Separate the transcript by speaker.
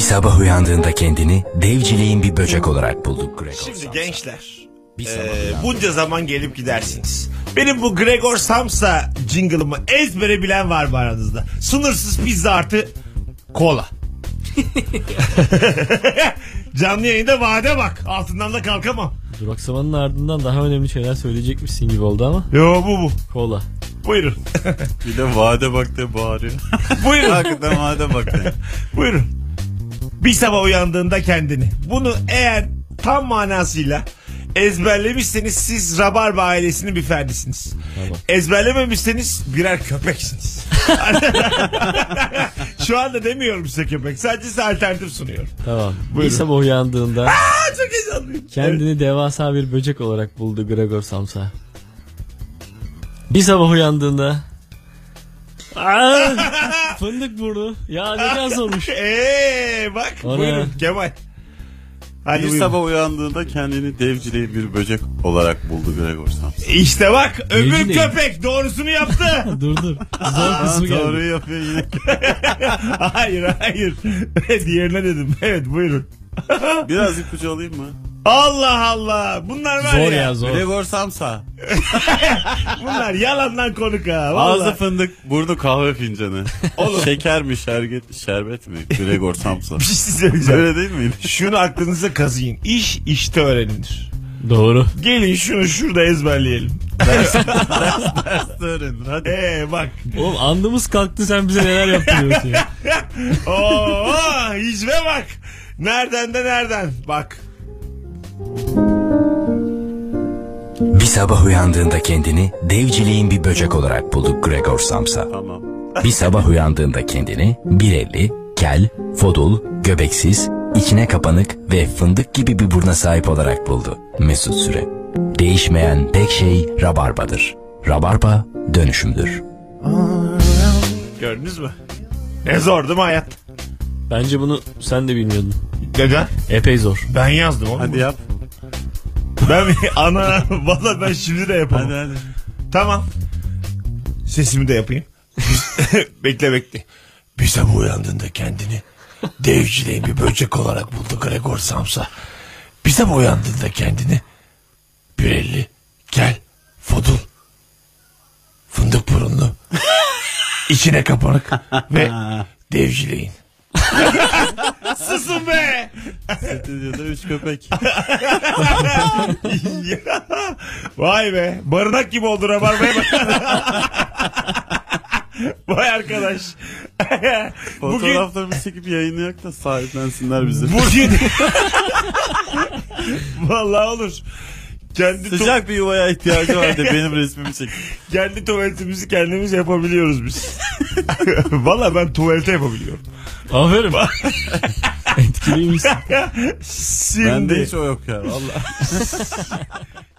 Speaker 1: sabah uyandığında kendini devciliğin bir böcek olarak bulduk Gregor
Speaker 2: Şimdi
Speaker 1: Samsa.
Speaker 2: gençler.
Speaker 1: Bir sabah
Speaker 2: Ee,
Speaker 1: uyandığında-
Speaker 2: bunca zaman gelip gidersiniz. Benim bu Gregor Samsa jingle'ımı ezbere bilen var mı aranızda? Sınırsız pizza artı kola. Canlı yayında vade bak. Altından da kalkamam.
Speaker 3: Duraksamanın ardından daha önemli şeyler söyleyecekmişsin gibi oldu ama.
Speaker 2: Yo bu bu.
Speaker 3: Kola.
Speaker 2: Buyurun.
Speaker 4: Bir de vade bak diye bağırıyor.
Speaker 2: Buyurun.
Speaker 4: Hakikaten vade bak diye.
Speaker 2: Buyurun. Bir sabah uyandığında kendini. Bunu eğer tam manasıyla ezberlemişseniz siz Rabarba ailesinin bir ferdisiniz. Ezberlememişseniz birer köpeksiniz. Şu anda demiyorum size köpek. Sadece size alternatif sunuyorum.
Speaker 3: Tamam.
Speaker 2: Buyurun.
Speaker 3: Bir sabah uyandığında
Speaker 2: Aa, çok heyecanlıyım.
Speaker 3: kendini devasa bir böcek olarak buldu Gregor Samsa. Bir sabah uyandığında Aa, fındık burnu. Ya ne biraz olmuş.
Speaker 2: Eee bak
Speaker 3: Ana.
Speaker 2: buyurun Kemal. Hadi
Speaker 4: Bir
Speaker 2: buyurun.
Speaker 4: sabah uyandığında kendini devciliği bir böcek olarak buldu Gregor Samsa.
Speaker 2: İşte bak öbür
Speaker 3: Neydi?
Speaker 2: köpek doğrusunu yaptı.
Speaker 3: Dur dur. Zor kısmı
Speaker 4: Doğru
Speaker 3: geldi.
Speaker 4: yapıyor yine.
Speaker 2: hayır hayır. Diğerine dedim. Evet buyurun.
Speaker 4: Biraz ipucu alayım mı?
Speaker 2: Allah Allah. Bunlar var ya.
Speaker 3: Zor ya zor.
Speaker 4: Gregor Samsa.
Speaker 2: Bunlar yalandan konuk ha. Vallahi.
Speaker 4: Ağzı fındık, burnu kahve fincanı. Oğlum. Şeker mi, şerbet, şerbet mi? Gregor Samsa.
Speaker 2: bir şey söyleyeceğim.
Speaker 4: Öyle değil miydi?
Speaker 2: Şunu aklınıza kazıyın. İş işte öğrenilir.
Speaker 3: Doğru.
Speaker 2: Gelin şunu şurada ezberleyelim.
Speaker 4: Öğrenin hadi.
Speaker 2: Ee bak.
Speaker 3: Oğlum andımız kalktı sen bize neler yaptırıyorsun ya.
Speaker 2: Oo hicve bak. Nereden de nereden. Bak.
Speaker 1: Bir sabah uyandığında kendini devciliğin bir böcek olarak bulduk Gregor Samsa.
Speaker 4: Tamam.
Speaker 1: Bir sabah uyandığında kendini 1.50, kel, fodul, göbeksiz, içine kapanık ve fındık gibi bir burna sahip olarak buldu Mesut Süre. Değişmeyen tek şey rabarbadır. Rabarba dönüşümdür.
Speaker 2: Gördünüz mü? Ne zor değil mi hayat?
Speaker 3: Bence bunu sen de bilmiyordun.
Speaker 2: Neden?
Speaker 3: Epey zor.
Speaker 2: Ben yazdım oğlum.
Speaker 4: Hadi yap.
Speaker 2: Ben ana valla ben şimdi de yapamam.
Speaker 4: Hadi hadi.
Speaker 2: Tamam. Sesimi de yapayım. bekle bekle. Bir sabah uyandığında kendini devcileyin bir böcek olarak buldu Gregor Samsa. Bir sabah uyandığında kendini 1.50 gel fodul fındık burunlu içine kapanık ve devcileyin. Susun be!
Speaker 4: Stüdyoda üç köpek.
Speaker 2: Ya, Vay be. Barınak gibi oldu rabarbaya bak. Vay arkadaş. bugün
Speaker 4: Fotoğraflarımızı çekip yayınlayak da sahiplensinler bizi.
Speaker 2: bugün Vallahi olur. Kendi tu-
Speaker 4: Sıcak bir yuvaya ihtiyacı vardı benim resmimi çek.
Speaker 2: kendi tuvaletimizi kendimiz yapabiliyoruz biz. Vallahi ben tuvalete yapabiliyorum.
Speaker 3: Aferin. Etkiliymişsin.
Speaker 2: Şimdi
Speaker 4: Bende hiç o yok ya. Vallahi.